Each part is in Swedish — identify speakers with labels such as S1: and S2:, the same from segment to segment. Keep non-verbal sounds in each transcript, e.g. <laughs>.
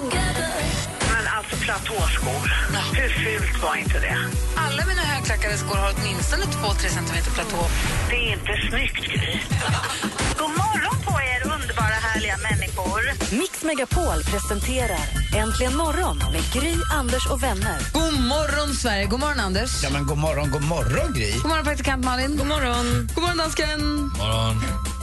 S1: Men alltså platåskor, hur fult var inte det?
S2: Alla mina högklackade skor har åtminstone 2-3 centimeter platå.
S1: Det är inte snyggt, Gry. God morgon på er underbara härliga människor.
S3: Mix Megapol presenterar Äntligen morgon med Gry, Anders och vänner.
S2: God morgon, Sverige! God morgon, Anders!
S4: Ja, men god morgon, god morgon Gry.
S2: God morgon, praktikant Malin! God morgon! God morgon, dansken!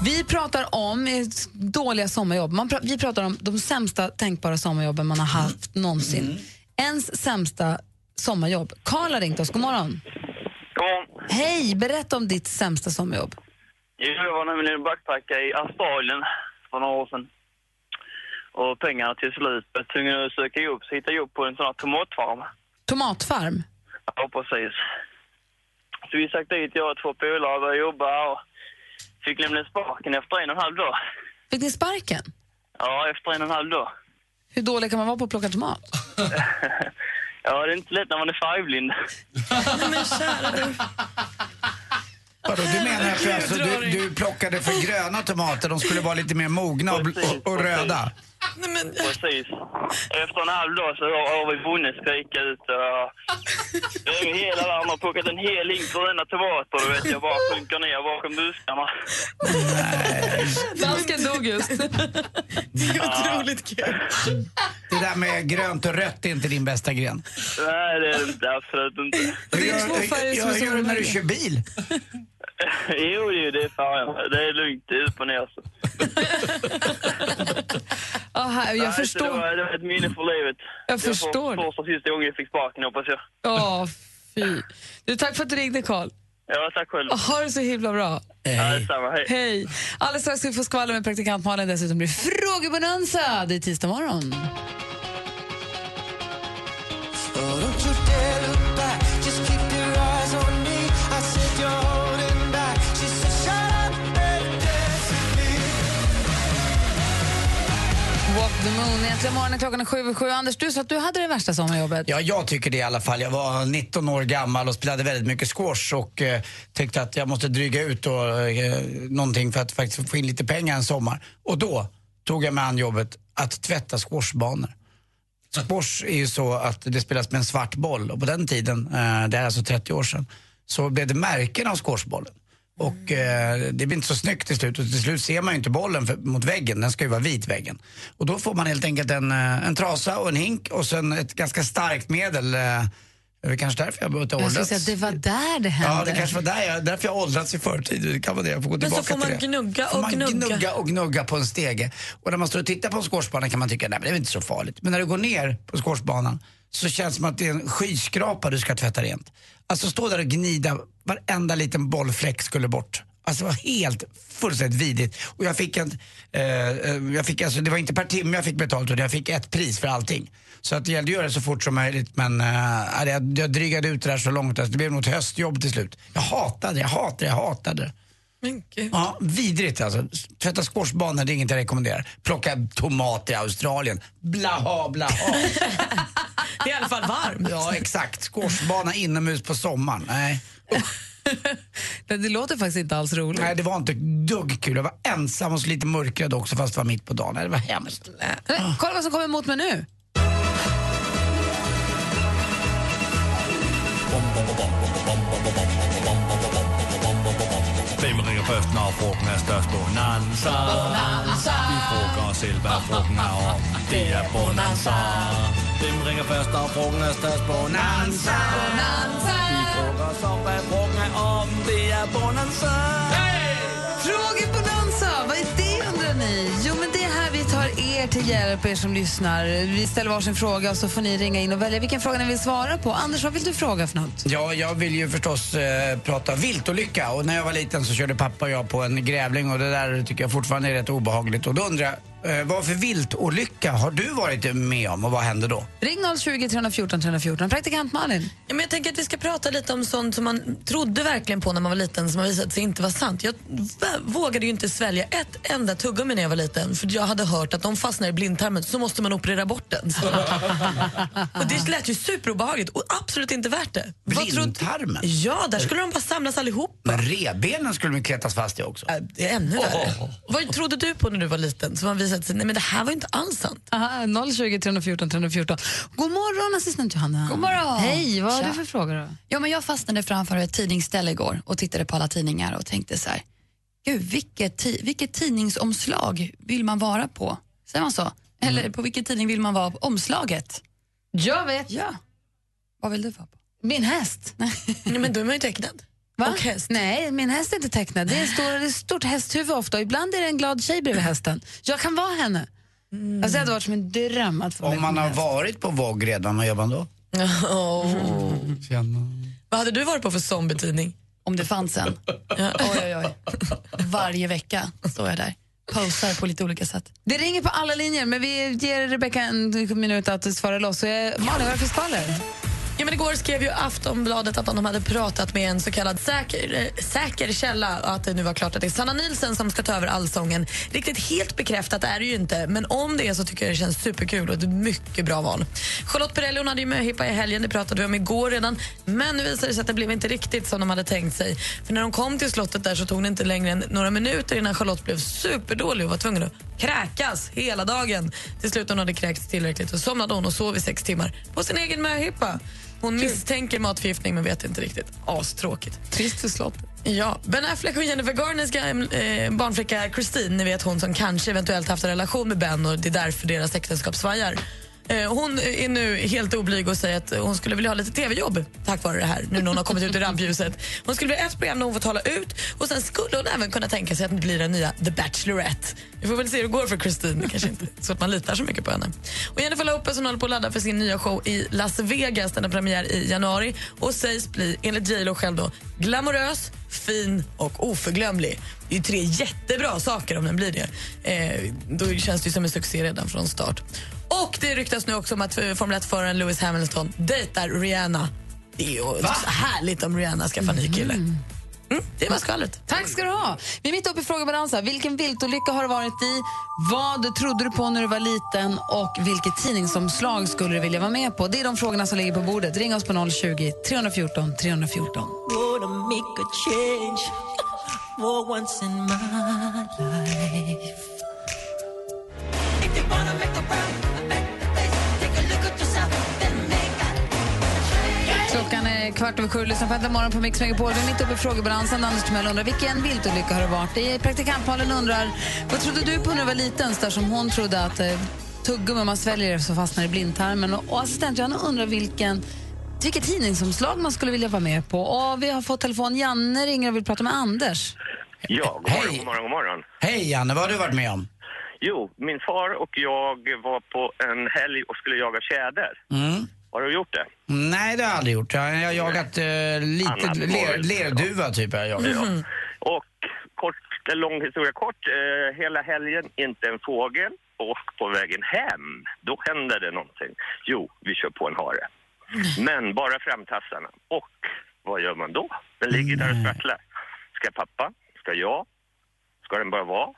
S2: Vi pratar om eh, dåliga sommarjobb. Man pra- vi pratar om de sämsta tänkbara sommarjobben man har haft någonsin.
S4: Mm.
S2: Ens sämsta sommarjobb. Karl har ringt oss. God morgon!
S5: Kom.
S2: Hej! Berätta om ditt sämsta sommarjobb.
S5: Jag var nämligen backpackare i Australien för några år sedan. Och pengarna till slut. Jag tvungen att söka jobb, så hittade jag jobb på en sån här tomatfarm.
S2: Tomatfarm.
S5: Ja, precis. Så vi stack dit, jag och två polare och började jobba och fick lämna sparken efter en och en halv dag.
S2: Fick ni sparken?
S5: Ja, efter en och en halv dag.
S2: Hur dålig kan man vara på att plocka tomat?
S5: Ja, det är inte lätt när man är färgblind.
S4: Vadå, du menar att du, alltså, du, du plockade för gröna tomater, de skulle vara lite mer mogna och, bl- och, och röda.
S5: Precis. Efter en halv dag så har har vi vunnit skrika ut och över hela världen har plockat en hel hink gröna tomater. Du vet, jag bara sjunker ner bakom buskarna.
S2: <laughs> Dansken dog <laughs> just.
S4: Det där med grönt och rött är inte din bästa gren.
S5: Nej, det är det inte. Absolut inte.
S4: Hur
S2: är två färger som är
S4: gör,
S2: så
S4: gör du när du
S2: olika.
S4: kör bil?
S5: Jo, jo, det är färgen. Det är lugnt. Det är upp och ner. alltså. Så.
S2: Ja, här-
S5: Nej,
S2: jag
S5: så Det
S2: förstår.
S5: var, det var ett minne för livet.
S2: Jag förstår.
S5: Det var första och sista gången jag fick sparken, hoppas jag.
S2: Ja, fy. Du, tack för att du ringde, Karl.
S5: Ja, tack själv.
S2: Ha det så himla bra.
S4: Eh.
S5: Ja, detsamma. Hej.
S2: Hej. Alldeles strax ska vi få skvaller med praktikant Malin. Dessutom blir det frågebonanza. Det är tisdag morgon. Walk the moon. Egentligen morgon är klockan är sju över sju. Anders, du sa att du hade det värsta sommarjobbet.
S4: Ja, jag tycker det i alla fall. Jag var 19 år gammal och spelade väldigt mycket squash och eh, tyckte att jag måste dryga ut då, eh, någonting för att faktiskt få in lite pengar en sommar. Och då tog jag mig an jobbet att tvätta squashbanor. Squash är ju så att det spelas med en svart boll och på den tiden, eh, det är alltså 30 år sedan, så blev det märken av squashbollen. Och eh, det blir inte så snyggt till slut och till slut ser man ju inte bollen för, mot väggen, den ska ju vara vit väggen. Och då får man helt enkelt en, eh, en trasa och en hink och sen ett ganska starkt medel. Eh, det är kanske därför jag har börjat
S2: Jag skulle
S4: åldras.
S2: säga att det var där det hände.
S4: Ja, det kanske var där jag, därför jag åldrats i förtid. Det kan vara det. Jag får gå
S6: Men så
S4: tillbaka
S6: får man
S4: till det.
S6: gnugga
S4: Får
S6: och
S4: man
S6: gnugga.
S4: gnugga och gnugga på en stege. Och när man står och tittar på en squashbana kan man tycka, nej men det är väl inte så farligt. Men när du går ner på squashbanan så känns det som att det är en skyskrapa du ska tvätta rent. Alltså stå där och gnida, varenda liten bollfläck skulle bort. Alltså det var helt fullständigt vidrigt. Och jag fick en, eh, eh, jag fick alltså, det var inte per timme jag fick betalt utan jag fick ett pris för allting. Så att det gällde att göra det så fort som möjligt men eh, ja, jag, jag drygade ut det där så långt. Alltså, det blev nog ett höstjobb till slut. Jag hatade det, jag hatade det, jag hatade det.
S6: Men gud.
S4: Ja, vidrigt alltså. Tvätta squashbanor, det är inget jag rekommenderar. Plocka tomater i Australien. Blaha, blaha.
S6: <laughs> Det är i alla fall varmt.
S4: ja, exakt. Squashbana inomhus på sommaren. Nej.
S2: Det, det låter faktiskt inte alls roligt.
S4: Nej, det var inte dugg kul. Jag var ensam och så lite mörkrädd också fast det var mitt på dagen. Nej, det var hemskt.
S2: Nej, Kolla vad som kommer emot mig nu.
S7: Vem ringer först när frågan är störst? Bonanza! Vi frågar oss själva vad frågan är om. Det är bonanza! Vem ringer först när frågan är störst? Bonanza! Vi frågar oss om vad frågan är om. Det är bonanza!
S2: Frågebonanza, vad är det undrar ni? Jo men det är här vi tar er till hjälp, er som lyssnar. Vi ställer varsin fråga och så får ni ringa in och välja vilken fråga ni vill svara på. Anders, vad vill du fråga för något?
S4: Ja, jag vill ju förstås eh, prata viltolycka och när jag var liten så körde pappa och jag på en grävling och det där tycker jag fortfarande är rätt obehagligt och då undrar jag Eh, vad för viltolycka har du varit med om och vad hände då?
S2: Ring 020 314 314. Praktikant Malin.
S6: Ja, men jag tänker att vi ska prata lite om sånt som man trodde verkligen på när man var liten som har visat sig inte vara sant. Jag v- vågade ju inte svälja ett enda tuggummi när jag var liten för jag hade hört att de fastnar i blindtarmen så måste man operera bort den. Så. och det lät ju superobehagligt och absolut inte värt det. Vad trodde-
S4: Blindtarmen?
S6: Ja, där skulle de bara samlas allihop.
S4: Men revbenen skulle de ju kletas fast i också.
S6: Äh, Det är ännu värre. Vad trodde du på när du var liten som har visat sig, nej men det här var inte alls sant.
S2: Aha, 020 314 314. God morgon, assistent Johanna.
S8: God morgon.
S2: Hej, vad har
S8: Tja.
S2: du för frågor? Då?
S8: Ja, men jag fastnade framför ett tidningsställe igår och tittade på alla tidningar och tänkte så här, gud vilket, ti- vilket tidningsomslag vill man vara på? Säger man så? Eller på vilken tidning vill man vara på omslaget?
S2: Jag vet.
S8: Ja. Vad vill du vara på?
S2: Min häst.
S6: Nej men då är man ju tecknad.
S2: Va?
S6: Och häst.
S2: Nej, min häst är inte tecknad. Det är, en stor, det är ett stort hästhuvud ofta. Ibland är det en glad tjej bredvid hästen. Jag kan vara henne. Alltså, det hade varit som en dröm att få
S4: Om man har varit på VOG redan, vad gör man då?
S6: Åh. Vad hade du varit på för zombietidning?
S8: Om det fanns en. Oj, oj, oj. Varje vecka står jag där. Posar på lite olika sätt.
S2: Det ringer på alla linjer, men vi ger Rebecca en minut att svara loss. Så jag, Malin, vad är det för skvaller?
S6: Ja, men igår skrev ju Aftonbladet att de hade pratat med en så kallad säker, eh, säker källa och att det nu var klart att det är Sanna Nilsson som ska ta över Allsången. Riktigt helt bekräftat är det ju inte, men om det är så tycker jag det känns superkul och ett mycket bra val. Charlotte Perrelli hon hade ju möhippa i helgen, det pratade vi om igår redan, men nu visade det sig att det blev inte riktigt som de hade tänkt sig. För när de kom till slottet där så tog det inte längre än några minuter innan Charlotte blev superdålig och var tvungen att kräkas hela dagen. Till slut hon hade kräkts tillräckligt och somnade hon och sov i sex timmar på sin egen möhippa. Hon misstänker matförgiftning men vet inte riktigt. Astråkigt.
S2: Trist för slottet.
S6: Ja, Ben Affleck och Jennifer Garners gamla, eh, barnflicka Christine, ni vet hon som kanske eventuellt haft en relation med Ben och det är därför deras äktenskap svajar. Eh, hon är nu helt oblyg och säger att hon skulle vilja ha lite tv-jobb tack vare det här, nu när hon har kommit ut i rampljuset. Hon skulle vilja ha ett program där hon får tala ut och sen skulle hon även kunna tänka sig att bli den nya The Bachelorette. Vi får väl se hur det går för Christine, Det kanske inte är så att man litar så mycket på henne. Och Jennifer Lopez hon håller på att ladda för sin nya show i Las Vegas, den har premiär i januari och sägs bli, enligt J Lo själv då, glamorös, fin och oförglömlig. Det är ju tre jättebra saker om den blir det. Eh, då känns det ju som en succé redan från start. Och det ryktas nu också om att eh, Formel 1-föraren Lewis Hamilton dejtar Rihanna. Det är ju härligt om Rihanna skaffar ny kille. Mm, det var skvallret.
S2: Tack ska du ha. Vi är mitt uppe i frågebalansen. Vilken viltolycka har du varit i? Vad trodde du på när du var liten? Och vilket tidningsomslag skulle du vilja vara med på? Det är de frågorna som ligger på bordet. Ring oss på 020 314 314. Klockan är kvart över sju. Lyssna på Äntligen morgon på Mix Megapol. Vi är mitt uppe i frågebalansen. Anders Timell undrar vilken viltolycka har det varit i? Praktikantmalen undrar vad trodde du på när du var liten? Där som hon trodde att eh, tuggummi man sväljer det så fastnar i blindtarmen. Och, och assistent Johanna undrar vilken vilket tidningsomslag man skulle vilja vara med på. Och vi har fått telefon. Janne ringer och vill prata med Anders.
S9: Ja, god morgon,
S4: Hej.
S9: god morgon, god morgon.
S4: Hej Janne, vad har du varit med om?
S9: Jo, min far och jag var på en helg och skulle jaga tjäder.
S4: Mm.
S9: Har du gjort det?
S4: Nej, det har jag aldrig gjort. Jag jag har jagat eh, lite
S9: Annat
S4: ler,
S9: var-
S4: lerduva typ. har Jag jagat.
S9: Ja. Och kort, en lång historia kort, eh, hela helgen inte en fågel och på vägen hem, då händer det någonting. Jo, vi kör på en hare. Men bara framtassarna. Och vad gör man då? Den ligger där och sprattlar. Ska pappa? Ska jag? Ska den bara vara?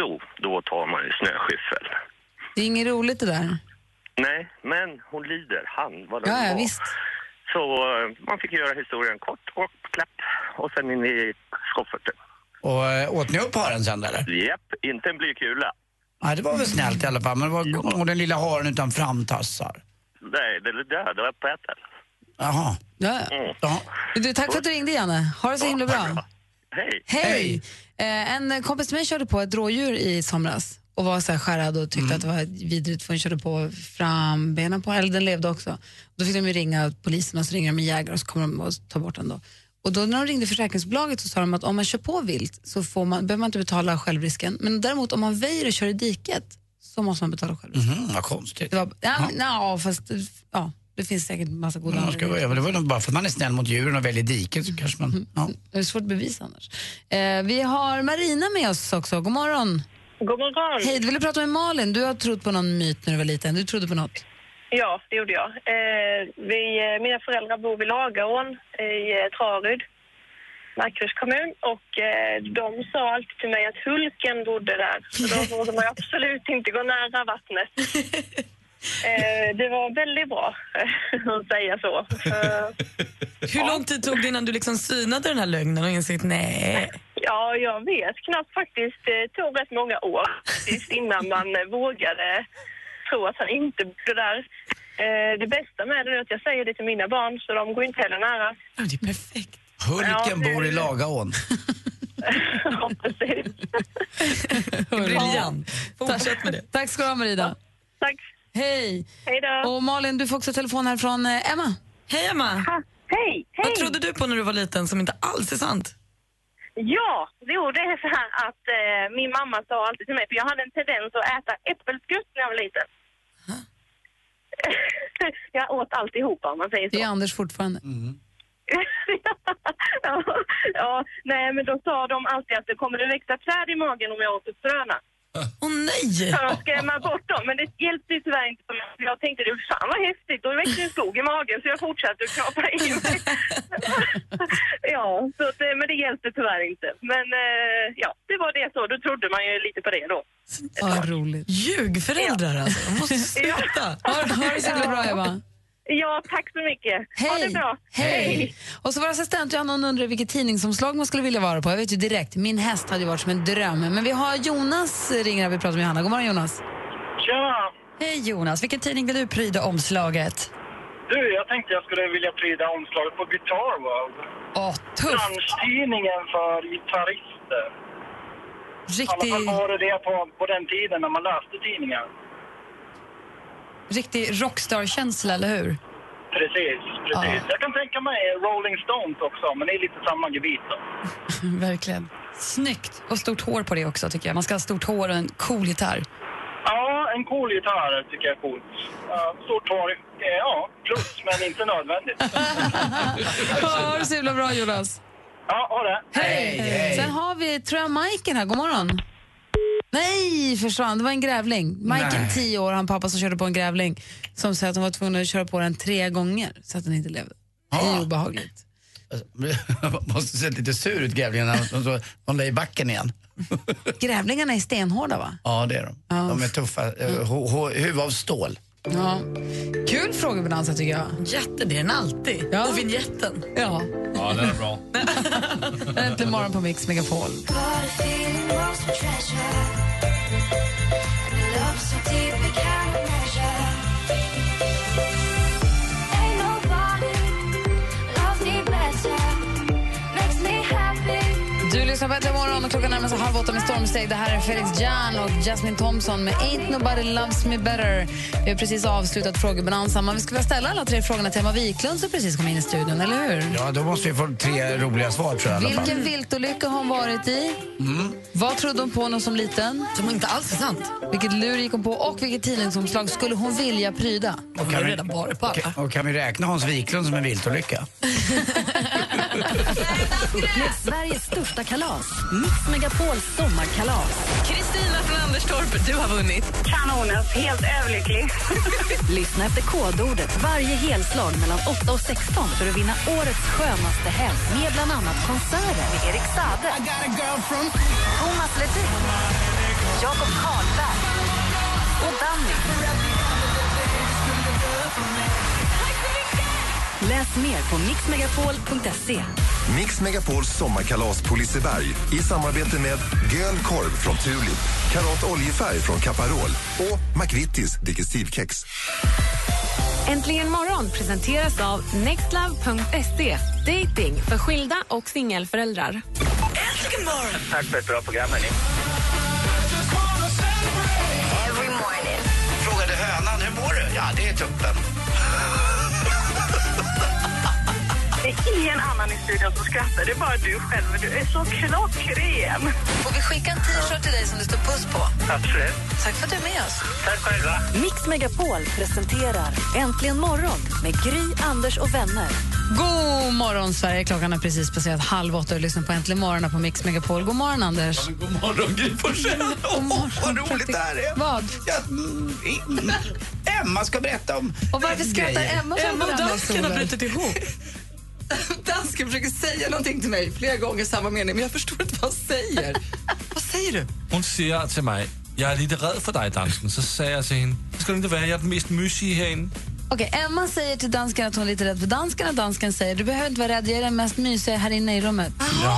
S9: Jo, då tar man ju snöskyffel.
S2: Det är inget roligt det där.
S9: Nej, men hon lider. Han, vad det
S2: Ja,
S9: nu
S2: ja
S9: var.
S2: visst.
S9: Så eh, man fick göra historien kort och klapp och sen in i skofferten.
S4: Och eh, åt ni upp haren sen eller?
S9: Japp, inte en blykula.
S4: Nej, det var väl snällt i alla fall. Men det var och den lilla haren utan framtassar.
S9: Nej, den är död och uppäten.
S4: Jaha.
S2: Ja.
S9: Mm.
S4: Ja.
S2: Du, tack för att du ringde, Janne. Ha det så himla bra.
S9: Hej!
S2: Hej! Eh, en kompis till mig körde på ett rådjur i somras och var så här skärrad och tyckte att det var vidrigt för hon körde på frambenen på eller den levde också. Då fick de ju ringa polisen och så ringer de en jägare och så kommer de och tar bort den då. Och då när de ringde försäkringsbolaget så sa de att om man kör på vilt så får man, behöver man inte betala självrisken men däremot om man väjer och kör i diket så måste man betala självrisken.
S4: Mhm, vad konstigt.
S2: Det var, ja, Mm, ja, fast ja, det finns säkert massa goda
S4: Man ska,
S2: anledningar.
S4: ja, men det var nog bara för att man är snäll mot djuren och väljer diket så kanske man... Ja.
S2: Det är svårt att bevisa annars. Eh, vi har Marina med oss också. God morgon.
S1: God morgon.
S2: Hej, du ville prata med Malin. Du har trott på någon myt när du var liten. Du trodde på något.
S1: Ja, det gjorde jag. Eh, vi, eh, mina föräldrar bor vid Lagaån i eh, Traryd, Markaryds kommun. Och eh, de sa alltid till mig att Hulken bodde där. Så då vågade man ju absolut inte gå nära vattnet. Eh, det var väldigt bra att säga så. Eh,
S6: Hur lång tid tog det innan du liksom synade den här lögnen och insåg nej?
S1: Ja, jag vet knappt faktiskt. Det tog rätt många år faktiskt innan man eh, vågade tro att han inte bodde där. Eh, Det bästa med det är att jag säger det till mina barn, så de går inte heller nära.
S6: Det är perfekt.
S4: Hulken bor i Lagaån.
S2: Briljant. Fortsätt med det. Tack ska du ha, Marida.
S1: Tack.
S2: Hej.
S1: Hej då.
S2: Och Malin, du får också telefon här från eh, Emma.
S6: Hej, Emma.
S1: Hej, hej.
S6: Vad trodde du på när du var liten som inte alls är sant?
S1: Ja, jo, det är så här att eh, min mamma sa alltid till mig, för jag hade en tendens att äta äppelskutt när jag var liten. <laughs> jag åt alltihopa om man säger så.
S2: Det är Anders fortfarande.
S1: ja, <laughs> ja, nej, men då sa de alltid att det kommer det växa träd i magen om jag åt upp fröna.
S6: Åh nej!
S1: Så jag skrämma bort dem, men det hjälpte ju tyvärr inte. För Jag tänkte, du fan vad häftigt, då växte en skog i magen så jag fortsatte att knappa in mig. <laughs> ja, så att, eh, men det hjälpte tyvärr inte. Men eh, ja, det var det så, då trodde man ju lite på det då.
S2: Vad roligt.
S6: Ljug föräldrar alltså. De
S2: <laughs>
S6: måste sluta.
S2: Ha, ha det så himla bra, Emma.
S1: Ja, tack så mycket. Ha det
S2: Hej.
S1: bra.
S2: Hej! Och så vår assistent Johanna hon undrar vilket tidningsomslag man skulle vilja vara på. Jag vet ju direkt, min häst hade ju varit som en dröm. Men vi har Jonas ringer här vi pratar med Johanna. God morgon Jonas.
S10: Tjena!
S8: Hej Jonas, vilken tidning vill du pryda omslaget?
S10: Du, jag tänkte jag skulle vilja pryda omslaget på Guitar World.
S8: Åh, tufft!
S10: Branschtidningen för gitarrister. I alla fall
S8: Riktig,
S10: var det det på, på den tiden när man läste tidningar.
S8: riktig rockstar-känsla, eller
S2: <laughs>
S8: hur?
S10: Precis, precis. Jag kan tänka mig Rolling Stones också, men det är lite samma gebit då.
S8: Verkligen. Snyggt! Och stort hår på det också, tycker jag. Man ska ha stort hår och en cool gitarr.
S10: Ja, en cool gitarr tycker jag är coolt. Uh, stort hår, eh, ja, plus, men inte nödvändigt.
S2: Ha det så himla bra Jonas.
S10: Ja, ha det.
S2: Hej! Sen har vi, tror jag, Majken här. God morgon. Nej, försvann. Det var en grävling. Majken,
S4: Nej.
S2: 10 år, han pappa som körde på en grävling som sa att hon var tvungen att köra på den tre gånger så att den inte levde. Det är ju obehagligt.
S4: Alltså, Måste se lite sur ut grävlingen när de- de- de la i backen igen.
S2: Grävlingarna är stenhårda, va?
S4: Ja, det är de. De är tuffa. Eh, hu- hu- Huvud av stål.
S2: Ja. Kul frågebonanza, tycker jag.
S6: Jätte, det är den alltid.
S2: Ja.
S6: Och vignetten.
S2: Ja.
S7: Ja, den är
S2: <laughs>
S7: bra.
S2: Äntligen morgon på Mix Megapol. Du lyssnar på Äntligen morgon och klockan närmar sig halv åtta med stormsteg. Det här är Felix Jan och Jasmine Thompson med Ain't nobody loves me better. Vi har precis avslutat frågebonanzan, men vi skulle vilja ställa alla tre frågorna till Emma Wiklund som precis kom in i studion, eller hur?
S4: Ja, då måste vi få tre roliga svar tror jag i alla fall.
S2: Vilken viltolycka har hon varit i?
S4: Mm.
S2: Vad trodde hon på när som liten?
S6: Som inte alls är sant.
S2: Vilket lur gick hon på och vilket tidningsomslag skulle hon vilja pryda?
S4: Och kan, vi, och kan- och kan vi räkna Hans Wiklund som en viltolycka?
S3: Upplev Sveriges största kalas. Mix Megapols sommarkalas.
S1: Kristina från Anderstorp, du har vunnit. Kanonens, helt överlycklig.
S3: <laughs> Lyssna efter kodordet varje helslag mellan 8 och 16 för att vinna årets skönaste helg med bland annat konserter med Erik Saade, Thomas Ledin, Jakob Karlberg och Danny. Läs mer på mixmegapol.se.
S11: Mix Megapols sommarkalas på Liseberg i samarbete med Göl korv från Tulip, Karat oljefärg från Caparol och McVittys digestivkex.
S12: Äntligen morgon presenteras av nextlove.se. Dating för skilda och singelföräldrar.
S9: Tack för ett bra program, hörni.
S4: Frågade hönan, hur mår du? Ja, det är tuppen.
S1: Det är en annan annan i studion som skrattar. Det är bara du själv. men Du är så klockren.
S3: Får vi skicka en t-shirt till dig som det står puss på?
S1: Tack för det.
S3: Tack för att du är med oss.
S1: Tack själva.
S3: Mix Megapol presenterar Äntligen morgon med Gry, Anders och vänner.
S2: God morgon, Sverige. Klockan har precis passerat halv åtta och lyssnar på Äntligen morgon på Mix Megapol. God morgon, Anders.
S7: God morgon, Gry Forssell.
S4: Åh, vad roligt det
S2: <laughs>
S4: här är.
S2: Vad?
S4: Emma ska berätta om
S2: Och varför skrattar
S4: grejer.
S2: Emma så Emma och varandra, dansken har Solen? brutit
S6: ihop.
S13: <laughs> Dansken försöker säga någonting till mig flera gånger samma mening, men jag förstår inte vad han
S4: <laughs>
S13: säger. vad säger du?
S7: Hon säger till mig, jag är lite rädd för dig dansken. Så säger jag till henne, det ska du inte vara, jag är den mest mysiga här inne.
S2: Okej, Emma säger till dansken att hon är lite rädd för dansken och dansken säger du behöver inte vara rädd, jag är den mest mysiga här inne i rummet.
S4: Ja,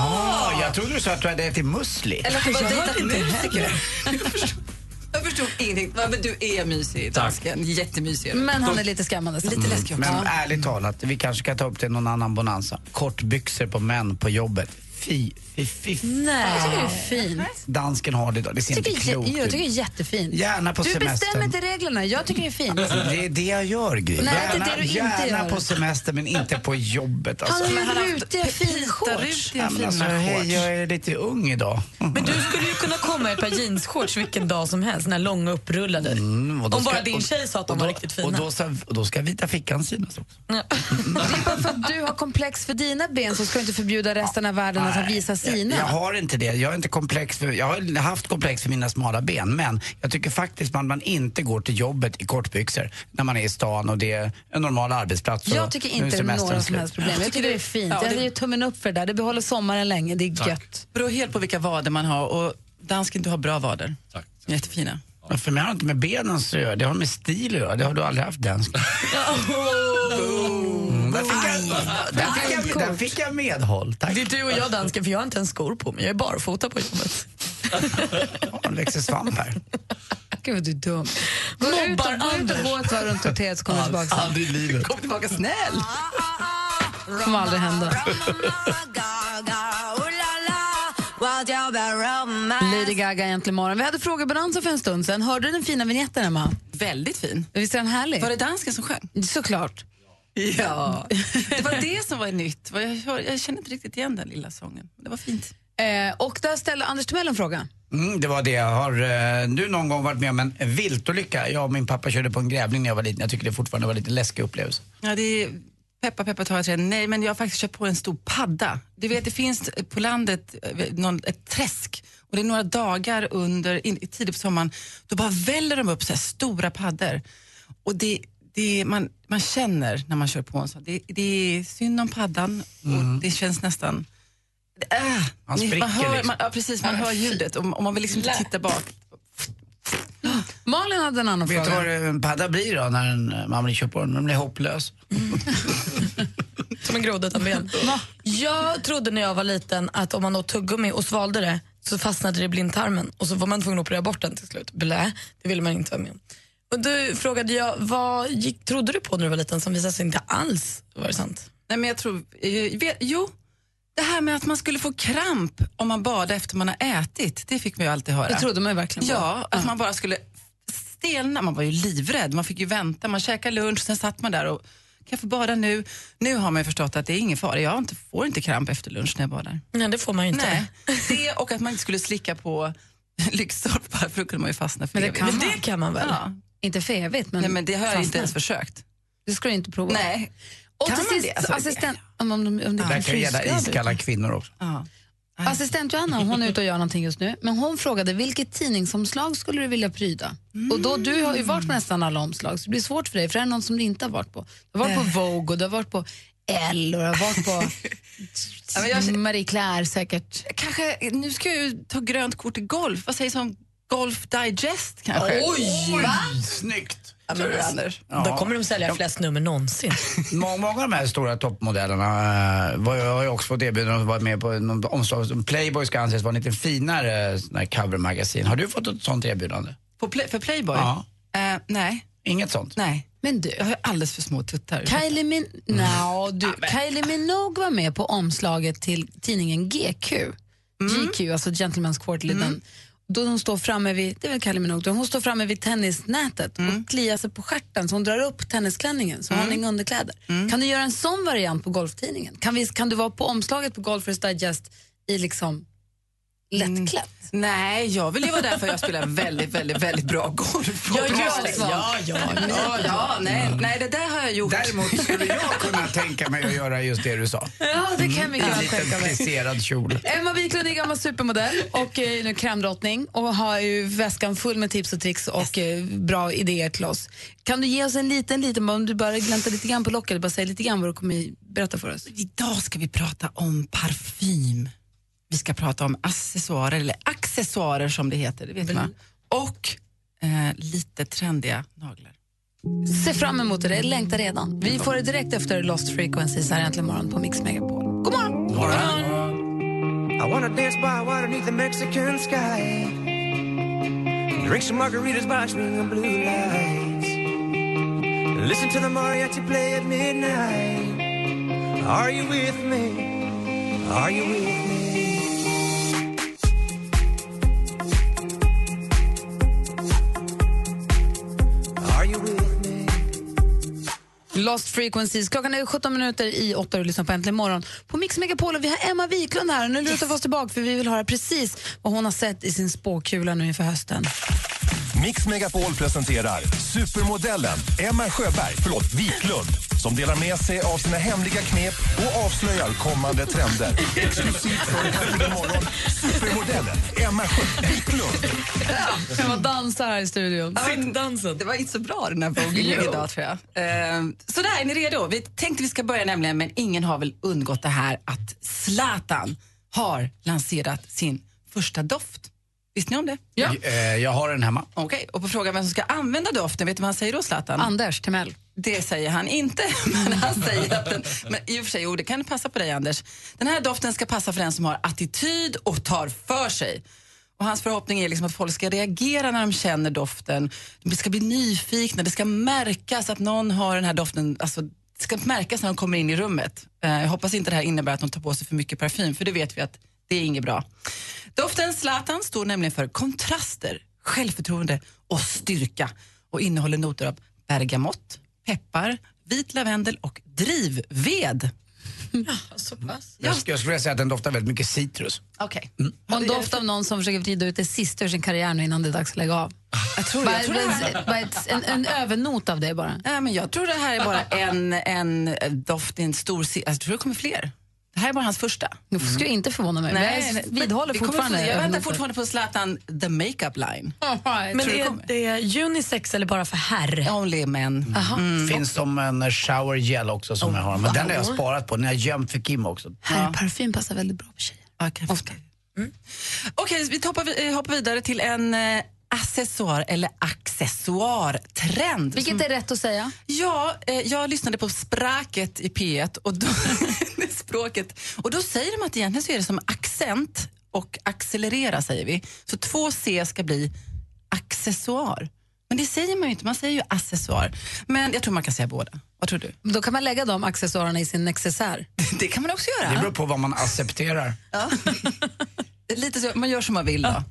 S4: Ah, jag trodde du sa att du hade ätit müsli.
S13: Eller att du bara dejtat musiker.
S4: heller.
S13: <laughs> Jag förstod ingenting. Ja, Men du är mysig, dansken. Jättemysig.
S2: Men han är lite skrämmande. så. Mm.
S13: Lite läskig också.
S4: Men
S13: Ja.
S4: ärligt talat, vi kanske kan ta upp det i någon annan bonanza. Kortbyxor på män på jobbet. Fy, fy, fy.
S2: Nej. Jag tycker det är
S4: fan.
S2: fint.
S4: Dansken har det idag. Det ser
S2: Jag
S4: inte
S2: tycker,
S4: klokt
S2: jag, jag tycker det är
S4: ut.
S2: jättefint.
S4: Gärna på
S2: du bestämmer
S4: semestern.
S2: inte reglerna, jag tycker det är fint.
S4: Det är det jag gör, Gry.
S2: Nej, det är
S4: Gärna,
S2: det du inte
S4: gärna
S2: gör.
S4: på semester, men inte på jobbet.
S2: Han
S4: Alltså.
S2: är
S4: Men-
S2: ju rutiga finshorts.
S6: rutiga
S4: Ja, men alltså,
S6: fina
S4: hej,
S6: shorts.
S4: jag är lite ung idag.
S6: Du skulle ju kunna komma i ett par jeansshorts vilken dag som helst, när långa upprullade.
S4: Mm, och då
S6: Om bara
S4: ska-
S6: din
S4: och-
S6: tjej sa att de
S4: och
S6: var
S4: då-
S6: riktigt fina.
S4: Och då ska, och då ska vita fickan synas också.
S2: Det är bara för att du har komplex för dina ben så ska du inte förbjuda resten av världen att visa sina.
S4: Jag, jag har inte det. Jag, är inte komplex för, jag har haft komplex för mina smala ben, men jag tycker faktiskt man, man inte går till jobbet i kortbyxor när man är i stan och det är en normal arbetsplats. och
S2: Jag tycker
S4: nu
S2: inte det är
S4: semestern
S2: några som
S4: slut.
S2: helst problem. Jag tycker det är fint.
S13: Ja,
S2: Jag
S13: det-
S2: ger tummen upp för det där. Det behåller sommaren länge. Det är gött.
S13: beror helt på vilka vader man har och dansken, du har bra vader. Tack. <laughs> Jättefina.
S4: Ja, För mig har det inte med benen att göra, det har med stil att göra. Det har du aldrig
S2: <laughs>
S4: haft den. Mm, där, fick jag, där, fick jag, där fick jag medhåll. Tack.
S6: Det är du och jag dansken, för jag har inte ens skor på mig. Jag är barfota på jobbet.
S4: Ja, det växer svamp här.
S2: Gud vad du är dum. Gå ut och, gå ut och gå ett varv runt kvarteret så kommer du tillbaka sen.
S4: Aldrig i livet.
S13: Kom tillbaka snäll.
S2: Det kommer aldrig hända. Lady Gaga äntligen morgon. Vi hade frågebalansen för en stund sedan. Hörde du den fina vignetten, Emma?
S13: Väldigt fin.
S2: Visst är den härlig?
S13: Var det dansken som sjöng?
S2: Såklart.
S13: Ja. Det var det som var nytt. Vad Jag, hör- jag känner inte riktigt igen den lilla sången. Det var fint.
S2: Eh, och där ställde Anders Timell en fråga.
S4: Mm, det var det. Har eh, du någon gång varit med om en viltolycka? Jag och min pappa körde på en grävling när jag var liten. Jag tycker det fortfarande var lite läskig upplevelse.
S13: Ja, det är peppa, peppa, ta ett träd. Nej, men jag har faktiskt köpt på en stor padda. Du vet, det finns på landet eh, någon, ett träsk och det är några dagar under, in, tidigt på sommaren, då bara väller de upp så här stora paddor. Och det, det man, man känner när man kör på en sån, det, det är synd om paddan
S4: Mm.
S13: och det känns nästan... Äh,
S4: Man
S13: ni-
S4: spricker
S13: man hör,
S4: liksom.
S13: man, ja, precis, man hör ljudet och, och man vill liksom inte titta bak.
S2: Malin hade en annan
S4: Vet du
S2: fråga.
S4: vad en padda blir då när en, eh, man blir köpt på den? Den blir hopplös.
S6: Som en groda utan ben. Jag trodde när jag var liten att om man åt tuggummi och svalde det så fastnade det i blindtarmen och så var man tvungen att operera bort den till slut. Blä, det ville man inte vara med om. Och då frågade jag, vad gick, trodde du på när du var liten som visade sig inte alls vara sant?
S13: Nej, men jag tror... eh, Vet, jo, det här med att man skulle få kramp om man badade efter man har ätit, det fick man ju alltid höra.
S2: Det trodde man ju verkligen på.
S13: Ja, att man bara skulle stelna. Man var ju livrädd, man fick ju vänta, man käkade lunch, sen satt man där och kan jag få bada nu? Nu har man ju förstått att det är ingen fara, jag har inte, får inte kramp efter lunch när jag badar.
S6: Nej, det får man ju inte.
S13: Nej, det och att man inte skulle slicka på <laughs> lyktstolpar för då kunde man ju fastna för
S2: Men det
S13: evigt.
S2: kan Men man.
S6: det kan man väl?
S13: Ja.
S2: Inte för evigt, men...
S13: Nej, men det har jag inte
S2: fastnar.
S13: ens försökt.
S2: Det ska du inte prova.
S13: Nej.
S2: Och
S13: Kan
S2: till
S13: man
S2: sist,
S13: det? Alltså, det-
S2: assistent... Om, om, om, om det
S4: Där kan ju gälla
S2: frysgradigt.
S4: iskalla kvinnor också.
S2: Assistent Johanna hon är ute och gör någonting just nu, men hon frågade vilket tidningsomslag skulle du vilja pryda?
S13: Mm.
S2: Och då, Du har ju varit på nästan alla omslag, så det blir svårt för dig, för det här är någon som du inte har varit på. Du har varit på
S13: Eh.
S2: Vogue, och du har varit på Elle och du har varit på
S13: <laughs> Ja, men jag-
S2: Marie Claire säkert.
S13: kanske, nu ska jag ju ta grönt kort i golf. Vad sägs om Golf Digest kanske?
S4: Oj!
S13: Va?
S4: Snyggt!
S13: Tror du, Anders?
S6: Då kommer de sälja flest nummer någonsin.
S4: Må- Många av de här stora toppmodellerna eh, var, jag har ju också fått erbjudande att vara med på någon omslag. Playboy ska anses vara en lite finare eh, sån här covermagasin. Har du fått ett sånt erbjudande?
S13: På play, för Playboy?
S4: Ja.
S13: Eh, nej.
S4: Inget sånt?
S13: nej.
S2: Men du,
S13: Jag har ju alldeles för små tuttar.
S2: Kylie, Min no, du, Kylie Minogue var Mm. med på omslaget till tidningen GQ. GQ, alltså Gentleman's Quarterly. Den. Då hon står framme vid, det är väl Kylie Minogue, då, hon står framme vid tennisnätet och kliar sig på stjärten så hon drar upp tennisklänningen så hon har inga underkläder. Kan du göra en sån variant på golftidningen? Kan, vi, kan du vara på omslaget på Golfers Digest i liksom lättklätt?
S13: Nej, jag vill ju vara där för jag spelar väldigt, väldigt, väldigt bra golf.
S2: Ja,
S13: Bra,
S2: ja,
S13: liksom.
S2: ja,
S4: ja,
S13: ja, ja, nej, nej, det där har jag gjort.
S4: Däremot skulle jag kunna tänka mig att göra just det du sa.
S2: Ja, det kan jag mycket
S4: En
S2: väl
S4: liten
S2: tänka mig.
S4: plisserad kjol.
S2: Emma Wiklund är gammal supermodell och eh, nu krämdrottning och har ju väskan full med tips och tricks och eh, bra idéer till oss. Kan du ge oss en liten, liten, om du bara gläntar lite grann på locket, bara säg lite grann vad du kommer berätta för oss.
S13: Idag ska vi prata om parfym. Vi ska prata om accessoarer, eller accessoarer som det heter, det vet man. Och eh, lite trendiga naglar.
S2: Se fram emot det, jag längtar redan. Vi får det direkt efter Lost Frequencies här äntligen morgon på Mix Megapol. God morgon! God
S14: I wanna dance by water beneath the Mexican sky. Drink some margaritas by string of blue lights. Listen to the mariachi play at midnight. Are you with me? Are you with me? Are you with me?
S2: Lost Frequencies. Klockan är 17 minuter i 8 och du lyssnar på Äntligen morgon på Mix Megapol. Och vi har Emma Wiklund här. Nu lutar vi oss tillbaka för vi vill höra precis vad hon har sett i sin spåkula nu inför hösten.
S15: Mix Megapol presenterar supermodellen Emma Sjöberg, förlåt, Wiklund som delar med sig av sina hemliga knep och avslöjar kommande trender. Exklusivt från Äntligen morgon, supermodellen Emma Sjö Wiklund.
S2: Emma dansar här i studion.
S13: Dansen. Det var inte så bra den här
S2: Jo.
S13: vågen idag tror jag. Eh, sådär, är ni redo? Vi tänkte vi ska börja nämligen, men ingen har väl undgått det här att Zlatan har lanserat sin första doft. Visste ni om det?
S4: Ja. Eh, Jag har den hemma.
S13: Okej, och på frågan vem som ska använda doften, vet du vad han säger då Zlatan?
S2: Anders Timell.
S13: Det säger han inte, <laughs> men han säger att den, men i och för sig, jo, det kan passa på dig Anders. Den här doften ska passa för den som har attityd och tar för sig. Och hans förhoppning är liksom att folk ska reagera när de känner doften. De ska bli nyfikna, det ska märkas att någon har den här doften, alltså det ska märkas när de kommer in i rummet. Eh, Jag hoppas inte det här innebär att de tar på sig för mycket parfym, för det vet vi att det är inget bra. Doften Zlatan står nämligen för kontraster, självförtroende och styrka och innehåller noter av bergamott, peppar, vit lavendel och drivved.
S6: Så pass.
S4: Jag, sk- jag skulle vilja säga att den doftar väldigt mycket citrus.
S13: Okej.
S2: Och en doft av någon som försöker vrida ut det sista ur sin karriär nu innan det är dags att lägga av.
S13: Jag tror,
S2: bara,
S13: jag tror det här-
S2: bara ett, en, en övernot av det bara.
S13: Nej, men jag tror det här är bara en, en eh, doft i en stor se- alltså, Jag tror det kommer fler. Det här är bara hans första.
S2: Nu skulle jag inte förvåna mig. Nej, jag
S13: men
S2: vidhåller
S13: vi kommer
S2: fortfarande.
S13: få- Jag väntar
S2: övernoter.
S13: fortfarande på Zlatan, the makeup line.
S6: Men är det unisex eller bara för herr?
S13: Only men. Mm.
S4: Finns som en eh, shower gel också som jag har. Men den har jag sparat på. Den har jag gömt för Kim också.
S2: Herrparfym passar väldigt bra på tjejer.
S13: Okay. Ofta. Mm. Okej, vi hoppar, vi- eh, hoppar vidare till en eh, accessoar eller accessoartrend.
S2: Vilket är rätt att säga?
S13: Ja, eh, jag lyssnade på Språket i P1 och då, <laughs> språket, och då säger de att egentligen så är det som accent och accelerera säger vi. Så två C ska bli accessoar. Men det säger man ju inte, man säger ju accessoar. Men jag tror man kan säga båda. Vad tror du? <laughs>
S2: Då kan man lägga de accessoarerna i sin necessär.
S13: Det kan man också göra.
S4: Det beror på vad man accepterar.
S13: Lite så, man gör som man vill då.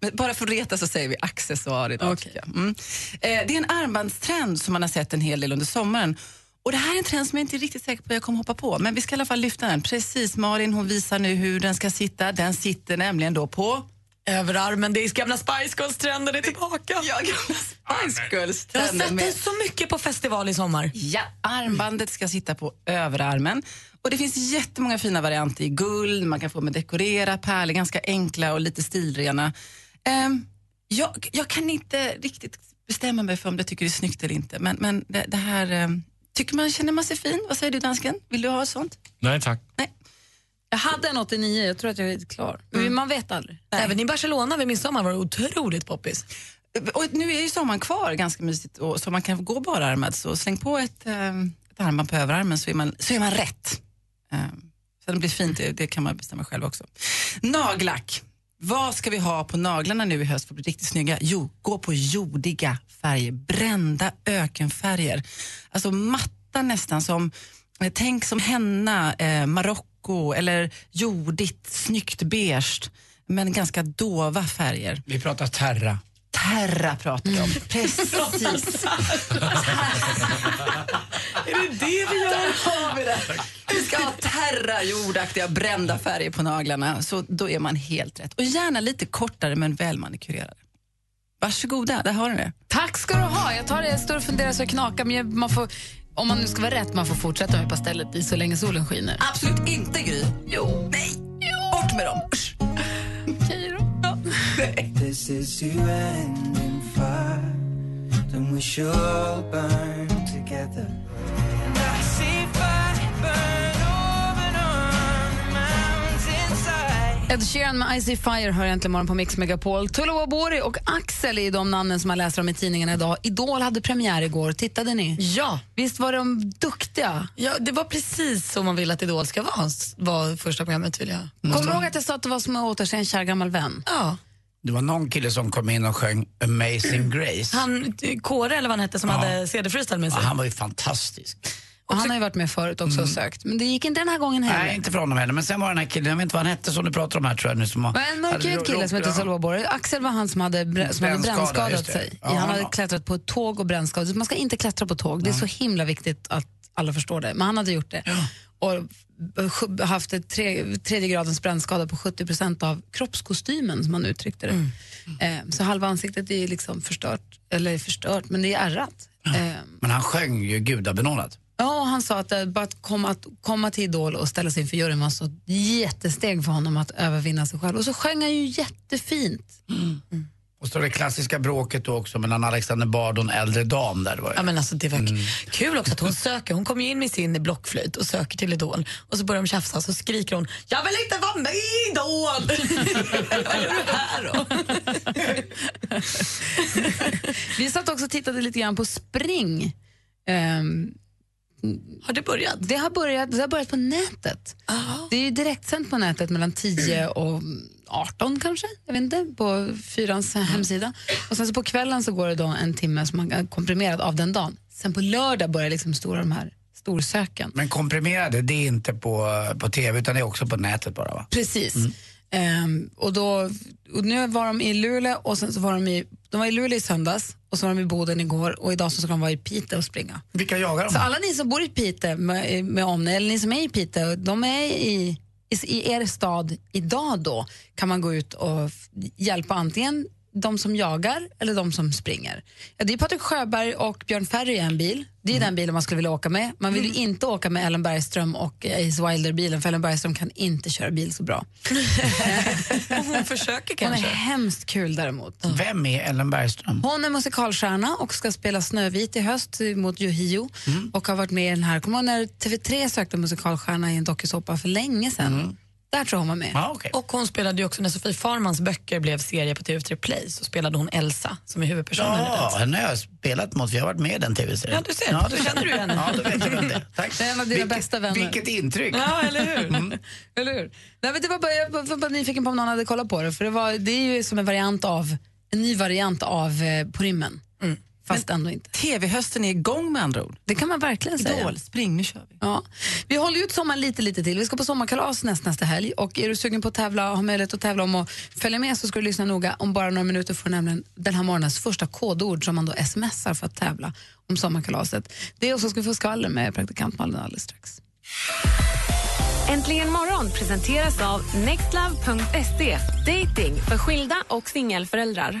S13: Men bara för att reta så säger vi accessoar idag. tycker jag. Mm. Eh, det är en armbandstrend som man har sett en hel del under sommaren. Och Det här är en trend som jag inte är riktigt säker på att jag kommer hoppa på, men vi ska i alla fall lyfta den. Precis, Malin hon visar nu hur den ska sitta. Den sitter nämligen då på...
S6: Överarmen, det är gamla Spice Girls-trenden är tillbaka.
S13: Ja, gamla Spice
S6: Jag har
S13: Girls-trenden
S6: sett
S13: med-
S6: det så mycket på festival i sommar.
S13: Ja, armbandet ska sitta på överarmen. Och Det finns jättemånga fina varianter i guld, man kan få med dekorera, pärlor, ganska enkla och lite stilrena. Ehm, jag, jag kan inte riktigt bestämma mig för om jag tycker det är snyggt eller inte, men, men det, det här... ehm, tycker man, känner man sig fin? Vad säger du dansken? Vill du ha sånt?
S16: Nej tack.
S2: Jag hade en 89, jag tror att jag är klar.
S13: Mm.
S2: Men man vet aldrig.
S6: Även i Barcelona vid midsommar var det otroligt poppis.
S13: Och nu är ju sommaren kvar ganska mysigt, och, så man kan gå bararmad. Så släng på ett, ehm, ett armband på överarmen så är man, så är man rätt. Ehm, så det blir fint, det, det kan man bestämma själv också. Nagellack. Vad ska vi ha på naglarna nu i höst för att bli riktigt snygga? Jo, gå på jordiga färger, brända ökenfärger. Alltså matta nästan som, eh, tänk som henna, eh, marocko eller jordigt, snyggt beige. men ganska dova färger.
S4: Vi pratar terra.
S13: Terra pratar vi om. Precis.
S8: Är det det vi gör?
S13: Där har vi det. Vi ska ha terra, jordaktiga, brända färger på <laughs> naglarna. Så då är man helt rätt. Och gärna lite kortare men välmanikurerade. Varsågoda, där har ni det.
S2: Tack ska du ha. Jag tar det, jag står och funderar så jag knakar. Men jag, man får, om man nu ska vara rätt, man får fortsätta med pastellet i så länge solen skiner.
S6: Ah.
S13: Absolut inte, Gry. Jo. Nej. Bort med dem. Usch.
S2: Okej då. Ja.
S14: This is you ending fire. Then we should all burn together. And I see fire burn over and on the mountainside.
S2: Ed Sheeran med Icy Fire hör äntligen morgon på Mix Megapol. Tullo Bori och Axel är ju de namnen som man läser om i tidningarna idag. Idol hade premiär igår. Tittade ni?
S6: Ja.
S2: Visst var de duktiga?
S6: Ja, det var precis som man vill att Idol ska vara, var första programmet vill jag.
S2: Kommer du ihåg att jag sa att det var som att återse en kär gammal vän?
S6: Mm. Ja.
S4: Det var någon kille som kom in och sjöng
S13: Mm.
S4: Amazing Grace.
S6: Han, Kåre eller vad han hette som
S4: Ja.
S13: Eh,
S6: hade CD-freestyle med
S4: Ja,
S6: sig.
S4: han var ju fantastisk.
S2: Och han har ju varit med förut också och
S6: Mm.
S2: sökt. Men det gick inte den här gången heller.
S4: Nej, inte från honom heller. Men sen var den här killen, jag vet inte vad han hette som du pratar om här tror jag nu. Som
S2: Det var en mörkhyad kille som hette Solveig Borg. Axel var han som hade, brä- som hade
S4: Brännskada,
S2: brännskadat
S4: just det.
S2: sig.
S4: Ja,
S2: han hade
S4: ja.
S2: klättrat på ett tåg och brännskadat sig. Man ska inte klättra på tåg. Det är så himla viktigt att alla förstår det. Men han hade gjort det. Och sj- haft ett tre, tredje gradens brännskada på 70 av kroppskostymen, som han uttryckte det. Eh, så halva ansiktet är liksom förstört, eller förstört, men det är ärrat. Eh,
S4: Men han sjöng ju gudabenådat.
S2: Ja, och han sa att det, bara att komma, att komma till Idol och ställa sig inför juryn var så ett jättesteg för honom att övervinna sig själv. Och så sjöng han ju jättefint.
S4: Och så det klassiska bråket då också mellan Alexander Bard och en äldre dam där. Det var ju.
S6: Ja, men alltså, det var
S13: Mm.
S6: kul också att hon söker. Hon kommer ju in med sin blockflöjt och söker till Idol. Och så börjar de tjafsa och så skriker hon “Jag vill inte vara med i Idol!” <laughs>
S2: Vi satt också och tittade lite grann på spring. Ehm,
S6: har det börjat?
S2: Det har börjat, det har börjat på nätet. Det är ju direktsänt på nätet mellan 10 och 18 kanske, jag vet inte, på Fyrans hemsida. Och sen så på kvällen så går det då en timme som man är komprimerad av den dagen. Sen på lördag börjar liksom stora de här storsöken.
S4: Men komprimerade, det är inte på, på tv utan det är också på nätet bara va?
S2: Precis. Ehm, och, då, och nu var de i Luleå och sen så var de i, de var i Luleå i söndags och så var de i Boden igår och idag så ska de vara i Piteå och springa.
S4: Vilka jagar de?
S2: Så alla ni som bor i Piteå med, med omnejd, eller ni som är i Piteå, de är i, i, i er stad idag då, kan man gå ut och f- hjälpa antingen de som jagar eller de som springer. Ja, det är Patrik Sjöberg och Björn Ferry i en bil. Det är den bilen man skulle vilja åka med. Man vill ju inte åka med Ellen Bergström och Ace Wilder-bilen för Ellen Bergström kan inte köra bil så bra.
S13: <laughs>
S6: Och hon försöker kanske.
S2: Hon är hemskt kul däremot.
S4: Vem är Ellen Bergström?
S2: Hon är musikalstjärna och ska spela Snövit i höst mot Yohio och har varit med i den här. Kommer du ihåg när TV3 sökte musikalstjärna i en dokusåpa för länge sedan? Där tror jag hon var med.
S6: Och hon spelade ju också, när Sofie Farmans böcker blev serie på TV3 Play så spelade hon Elsa som är huvudpersonen i
S4: Ja,
S6: den.
S4: henne har jag spelat mot. Vi har varit med i den tv-serien.
S6: Ja, du ser.
S4: Ja,
S6: Då känner du henne.
S4: Ja, då vet jag vem det är. Tack.
S2: Det är en av dina bästa vänner.
S4: Vilket intryck.
S6: Ja, eller hur?
S2: <laughs> Eller hur? Nej, men det var bara, jag var bara nyfiken på om någon hade kollat på det, för det, var, det är ju som en variant av en ny variant av eh, På rymmen.
S6: Mm.
S2: Fast ändå inte.
S13: TV-hösten är igång med andra ord.
S2: Det kan man verkligen säga.
S13: Idol, spring, nu kör vi.
S2: Ja. Vi håller ju ut sommaren lite, lite till. Vi ska på sommarkalas näst, nästa helg. Och är du sugen på att tävla och har möjlighet att tävla om att följa med så ska du lyssna noga. Om bara några minuter får du nämligen den här morgonens första kodord som man då smsar för att tävla om sommarkalaset. Det och så ska vi få skvaller med praktikant Malin alldeles strax.
S12: Äntligen morgon presenteras av nextlove.se. Dating för skilda och singelföräldrar.